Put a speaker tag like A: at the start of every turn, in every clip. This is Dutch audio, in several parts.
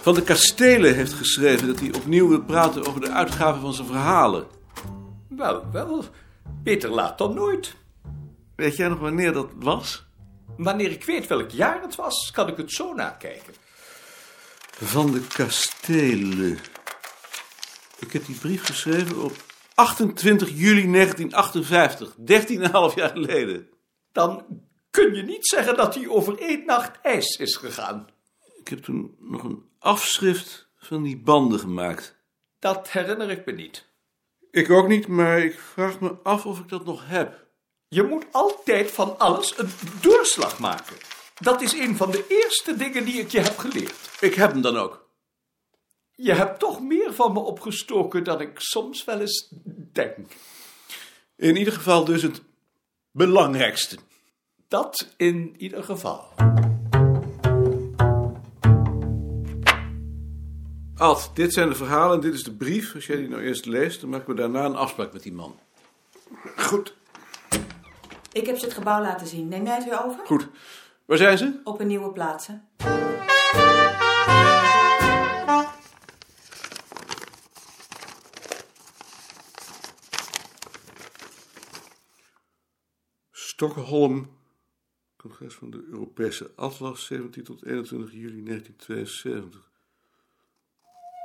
A: Van de Kastelen heeft geschreven dat hij opnieuw wil praten over de uitgave van zijn verhalen.
B: Wel, wel. Beter laat dan nooit.
A: Weet jij nog wanneer dat was?
B: Wanneer ik weet welk jaar het was, kan ik het zo nakijken.
A: Van de Kastelen. Ik heb die brief geschreven op 28 juli 1958, 13,5 jaar geleden.
B: Dan kun je niet zeggen dat hij over één nacht ijs is gegaan.
A: Ik heb toen nog een afschrift van die banden gemaakt.
B: Dat herinner ik me niet.
A: Ik ook niet, maar ik vraag me af of ik dat nog heb.
B: Je moet altijd van alles een doorslag maken. Dat is een van de eerste dingen die ik je heb geleerd.
A: Ik heb hem dan ook.
B: Je hebt toch meer van me opgestoken dan ik soms wel eens denk.
A: In ieder geval dus het belangrijkste.
B: Dat in ieder geval.
A: Ad, dit zijn de verhalen en dit is de brief. Als jij die nou eerst leest, dan maken we daarna een afspraak met die man. Goed,
C: Ik heb ze het gebouw laten zien. Neem jij het weer over?
A: goed. Waar zijn ze?
C: Op een nieuwe plaatsen.
A: Stockholm, congres van de Europese Atlas, 17 tot 21 juli 1972.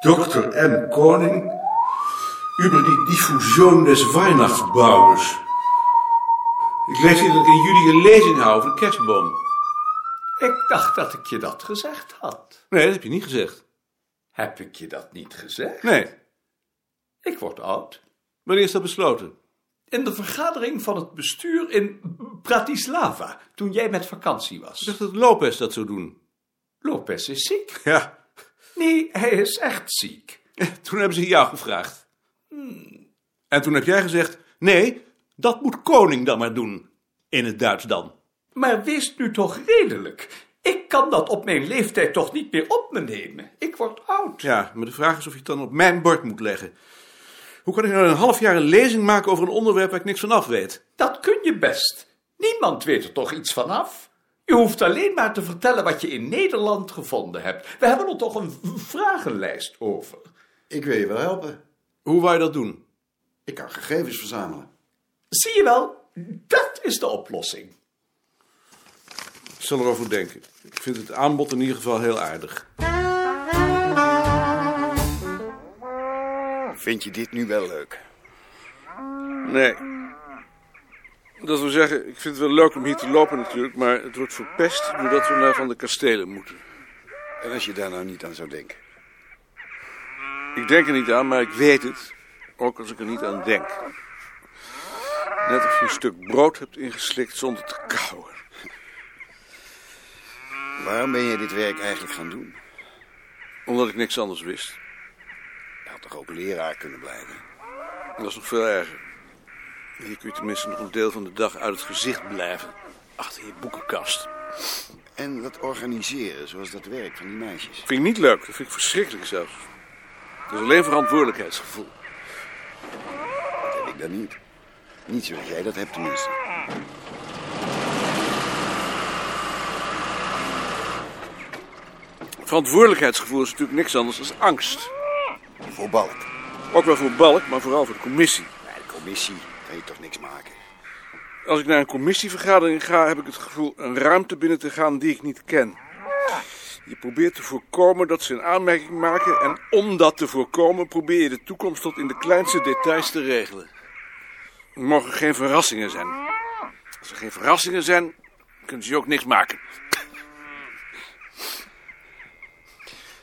A: Dr. M. Koning über die Diffusion des Weihnachtsbaumes. Ik lees hier dat ik in juli een lezing hou over de kerstboom.
B: Ik dacht dat ik je dat gezegd had.
A: Nee, dat heb je niet gezegd.
B: Heb ik je dat niet gezegd?
A: Nee.
B: Ik word oud.
A: Wanneer is dat besloten?
B: In de vergadering van het bestuur in Bratislava, toen jij met vakantie
A: Ik
B: was.
A: dacht dat Lopez dat zou doen.
B: Lopez is ziek.
A: Ja.
B: Nee, hij is echt ziek.
A: Toen hebben ze jou gevraagd. Hmm. En toen heb jij gezegd: nee, dat moet Koning dan maar doen. In het Duits dan.
B: Maar wees nu toch redelijk. Ik kan dat op mijn leeftijd toch niet meer op me nemen. Ik word oud.
A: Ja, maar de vraag is of je het dan op mijn bord moet leggen. Hoe kan ik nou een half jaar een lezing maken over een onderwerp waar ik niks van af weet?
B: Dat kun je best. Niemand weet er toch iets vanaf? Je hoeft alleen maar te vertellen wat je in Nederland gevonden hebt. We hebben er toch een v- vragenlijst over.
D: Ik wil je wel helpen.
A: Hoe wou je dat doen?
D: Ik kan gegevens verzamelen.
B: Zie je wel, dat is de oplossing.
A: Ik zal erover denken. Ik vind het aanbod in ieder geval heel aardig.
D: Vind je dit nu wel leuk?
A: Nee. Dat wil zeggen, ik vind het wel leuk om hier te lopen natuurlijk, maar het wordt verpest doordat we naar Van de Kastelen moeten.
D: En als je daar nou niet aan zou denken?
A: Ik denk er niet aan, maar ik weet het. Ook als ik er niet aan denk. Net of je een stuk brood hebt ingeslikt zonder te kauwen.
D: Waarom ben je dit werk eigenlijk gaan doen?
A: Omdat ik niks anders wist.
D: Je had toch ook leraar kunnen blijven?
A: Dat is nog veel erger. Hier kun je tenminste nog een deel van de dag uit het gezicht blijven. Achter je boekenkast.
D: En dat organiseren, zoals dat werk van die meisjes.
A: Vind ik niet leuk. Dat vind ik verschrikkelijk zelfs. Dat is alleen verantwoordelijkheidsgevoel.
D: Dat heb ik dan niet. Niet zoals jij dat hebt tenminste.
A: Verantwoordelijkheidsgevoel is natuurlijk niks anders dan angst.
D: Voor Balk.
A: Ook wel voor Balk, maar vooral voor de commissie.
D: Bij de commissie kan je toch niks maken?
A: Als ik naar een commissievergadering ga, heb ik het gevoel een ruimte binnen te gaan die ik niet ken. Je probeert te voorkomen dat ze een aanmerking maken en om dat te voorkomen probeer je de toekomst tot in de kleinste details te regelen. Er mogen geen verrassingen zijn. Als er geen verrassingen zijn, kunnen ze je ook niks maken.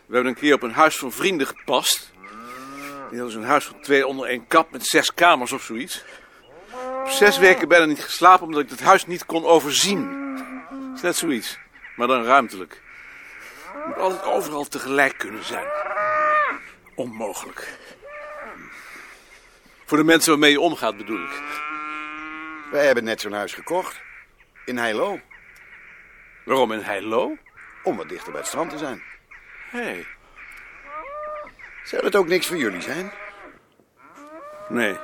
A: We hebben een keer op een huis van vrienden gepast. Die hadden zo'n huis van twee onder één kap met zes kamers of zoiets zes weken bijna niet geslapen omdat ik het huis niet kon overzien. Is net zoiets, maar dan ruimtelijk. Je moet altijd overal tegelijk kunnen zijn. Onmogelijk. Voor de mensen waarmee je omgaat bedoel ik.
D: Wij hebben net zo'n huis gekocht. In Heilo.
A: Waarom in Heilo?
D: Om wat dichter bij het strand te zijn.
A: Hé. Hey.
D: Zou dat ook niks voor jullie zijn?
A: Nee.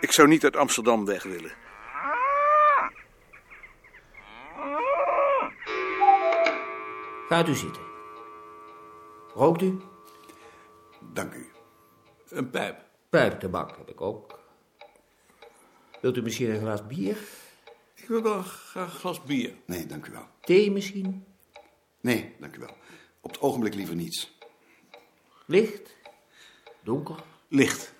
A: Ik zou niet uit Amsterdam weg willen.
E: Gaat u zitten. Rookt u?
B: Dank u.
A: Een pijp.
E: Pijptabak heb ik ook. Wilt u misschien een glas bier?
A: Ik wil wel graag een glas bier.
B: Nee, dank u wel.
E: Thee misschien?
B: Nee, dank u wel. Op het ogenblik liever niets.
E: Licht? Donker?
A: Licht.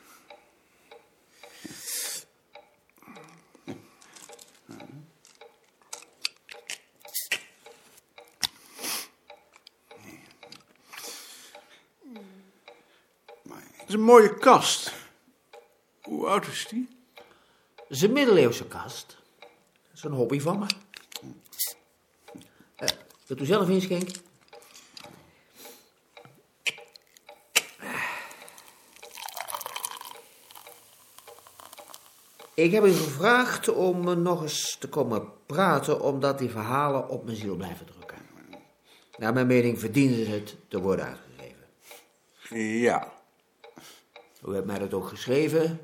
B: Maar
A: Het is een mooie kast. Hoe oud is die?
E: Dat is een middeleeuwse kast. Dat is een hobby van me. Eh, wilt u zelf inschenken? Ik heb u gevraagd om eh, nog eens te komen praten, omdat die verhalen op mijn ziel blijven drukken. Naar mijn mening verdienen ze het te worden uitgegeven.
A: Ja.
E: U hebt mij dat ook geschreven.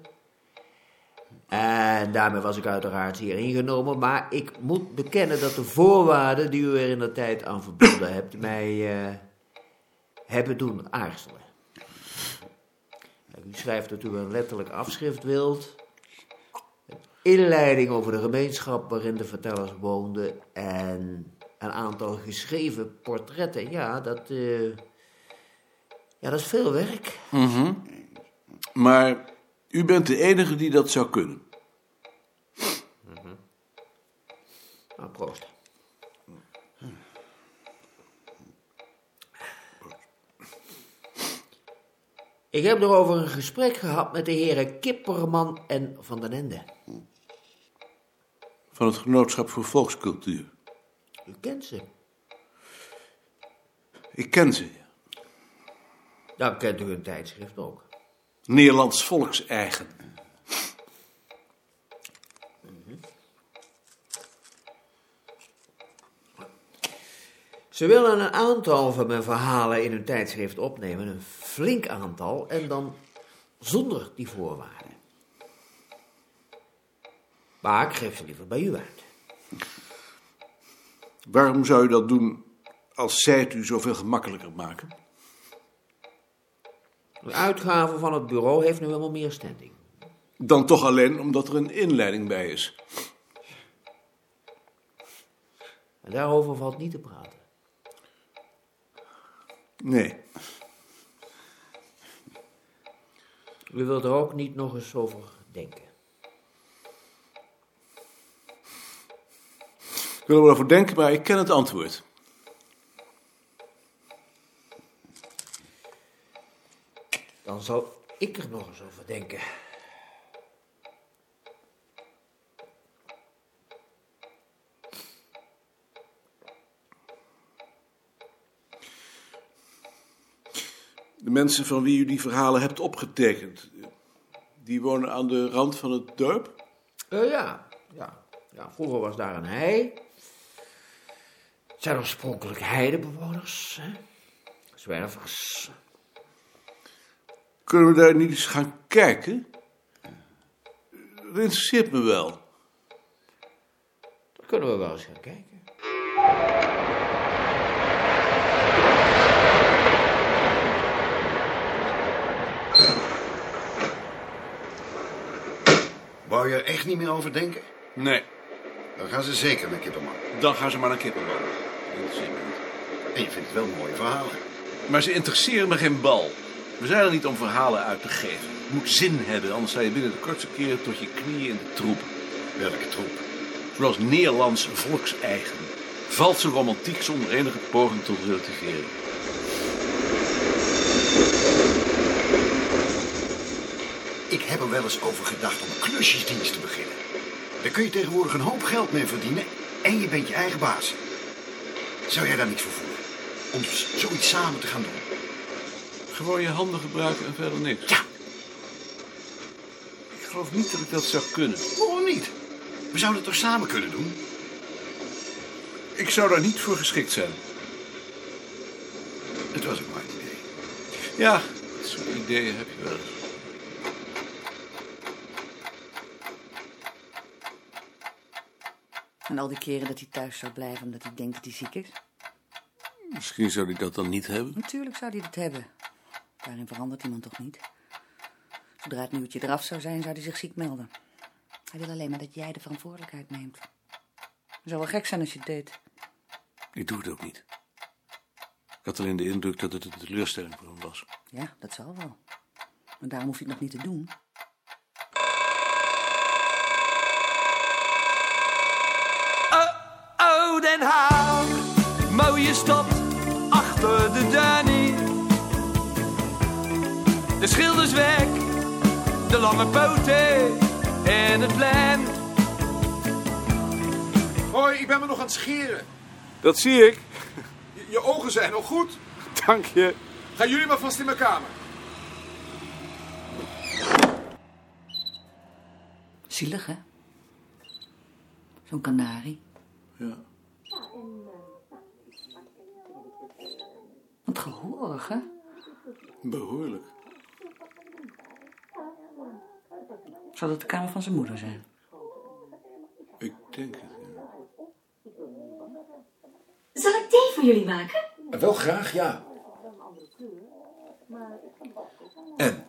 E: En daarmee was ik uiteraard hier ingenomen. Maar ik moet bekennen dat de voorwaarden die u er in de tijd aan verbonden hebt, mij eh, hebben doen aarzelen. U schrijft dat u een letterlijk afschrift wilt. Een inleiding over de gemeenschap waarin de vertellers woonden. En een aantal geschreven portretten. Ja, dat, eh, ja, dat is veel werk.
A: Maar u bent de enige die dat zou kunnen.
E: Nou, proost. Ik heb erover een gesprek gehad met de heren Kipperman en Van den Ende.
A: Van het Genootschap voor Volkscultuur.
E: U kent ze.
A: Ik ken ze. ja.
E: Dan kent u hun tijdschrift ook.
A: Nederlands volkseigen.
E: Ze willen een aantal van mijn verhalen in hun tijdschrift opnemen, een flink aantal, en dan zonder die voorwaarden. Maar ik geef ze liever bij u uit.
A: Waarom zou u dat doen als zij het u zoveel gemakkelijker maken?
E: De uitgave van het bureau heeft nu helemaal meer standing.
A: Dan toch alleen omdat er een inleiding bij is.
E: En daarover valt niet te praten.
A: Nee.
E: U wilt er ook niet nog eens over denken.
A: Ik wil er wel over denken, maar ik ken het antwoord.
E: Dan zal ik er nog eens over denken.
A: De mensen van wie u die verhalen hebt opgetekend, die wonen aan de rand van het dorp?
E: Eh, ja. Ja. ja, vroeger was daar een hei. Het zijn oorspronkelijk heidebewoners, hè? zwervers.
A: Kunnen we daar niet eens gaan kijken? Dat interesseert me wel.
E: Daar kunnen we wel eens gaan kijken.
B: wou je er echt niet meer over denken?
A: Nee,
B: Dan gaan ze zeker naar Kippenman.
A: dan gaan ze maar naar Kippenbal. Dat interesseert me niet.
B: En je vindt wel mooie verhalen.
A: Maar ze interesseren me geen bal. We zijn er niet om verhalen uit te geven. Het moet zin hebben, anders sta je binnen de kortste keren tot je knieën in de troep.
B: Welke troep.
A: Zoals Nederlands volkseigen. Valse romantiek zonder enige poging tot relativering.
B: Ik heb er wel eens over gedacht om een klusjesdienst te beginnen. Daar kun je tegenwoordig een hoop geld mee verdienen en je bent je eigen baas. Zou jij daar niet voor voelen? Om s- zoiets samen te gaan doen?
A: Gewoon je handen gebruiken en verder niks.
B: Ja,
A: Ik geloof niet dat ik dat zou kunnen.
B: waarom niet? We zouden het toch samen kunnen doen?
A: Ik zou daar niet voor geschikt zijn.
B: Het was ook maar een idee.
A: Ja, dat soort ideeën heb je wel eens.
F: En al die keren dat hij thuis zou blijven omdat hij denkt dat hij ziek is.
A: Misschien zou hij dat dan niet hebben.
F: Natuurlijk zou hij dat hebben. Daarin verandert iemand toch niet? Zodra het nieuwtje eraf zou zijn, zou hij zich ziek melden. Hij wil alleen maar dat jij de verantwoordelijkheid neemt. Het zou wel gek zijn als je het deed.
A: Ik doe het ook niet. Ik had alleen de indruk dat het een teleurstelling voor hem was.
F: Ja, dat zal wel. Maar daarom hoef je het nog niet te doen.
B: Oh, Den Haag, mooie stad achter de Danny. De schilderswerk, de lange poten en het plein.
G: Hoi, ik ben me nog aan het scheren.
H: Dat zie ik.
G: Je, je ogen zijn nog goed.
H: Dank je.
G: Gaan jullie maar vast in mijn kamer.
F: Zielig, hè? Zo'n kanarie.
A: Ja.
F: Wat gehoorig, hè?
A: Behoorlijk.
F: Zou dat de kamer van zijn moeder zijn?
A: Ik denk het.
I: Zal ik thee voor jullie maken?
A: Eh,
J: Wel graag, ja.
K: En?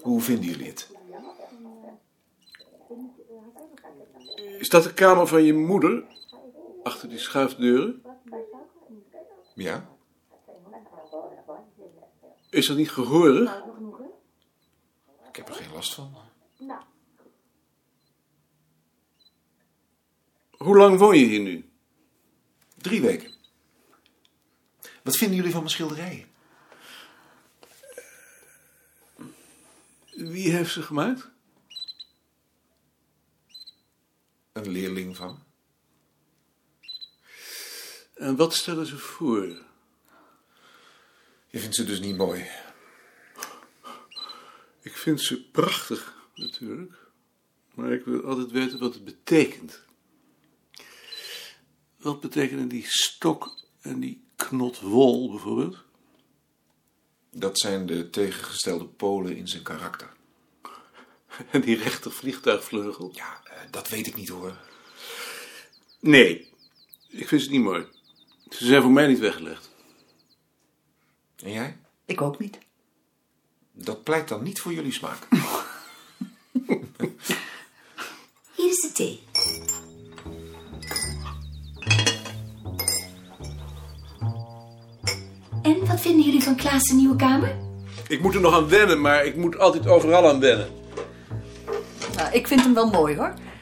K: Hoe vinden jullie het?
A: Is dat de kamer van je moeder? Achter die schuifdeuren?
K: Ja?
A: Is dat niet gehoorig?
K: Ik heb er geen last van.
A: Hoe lang woon je hier nu?
K: Drie weken. Wat vinden jullie van mijn schilderijen?
A: Wie heeft ze gemaakt?
K: Een leerling van?
A: En wat stellen ze voor?
K: Je vindt ze dus niet mooi.
A: Ik vind ze prachtig, natuurlijk. Maar ik wil altijd weten wat het betekent. Wat betekenen die stok en die knot wol bijvoorbeeld?
K: Dat zijn de tegengestelde polen in zijn karakter.
A: En die rechter vliegtuigvleugel?
K: Ja, eh, dat weet ik niet hoor.
A: Nee, ik vind ze niet mooi. Ze zijn voor mij niet weggelegd.
K: En jij?
F: Ik ook niet.
K: Dat pleit dan niet voor jullie smaak.
I: Hier is de thee. En wat vinden jullie van Klaas' nieuwe kamer?
H: Ik moet er nog aan wennen, maar ik moet altijd overal aan wennen.
F: Nou, ik vind hem wel mooi, hoor.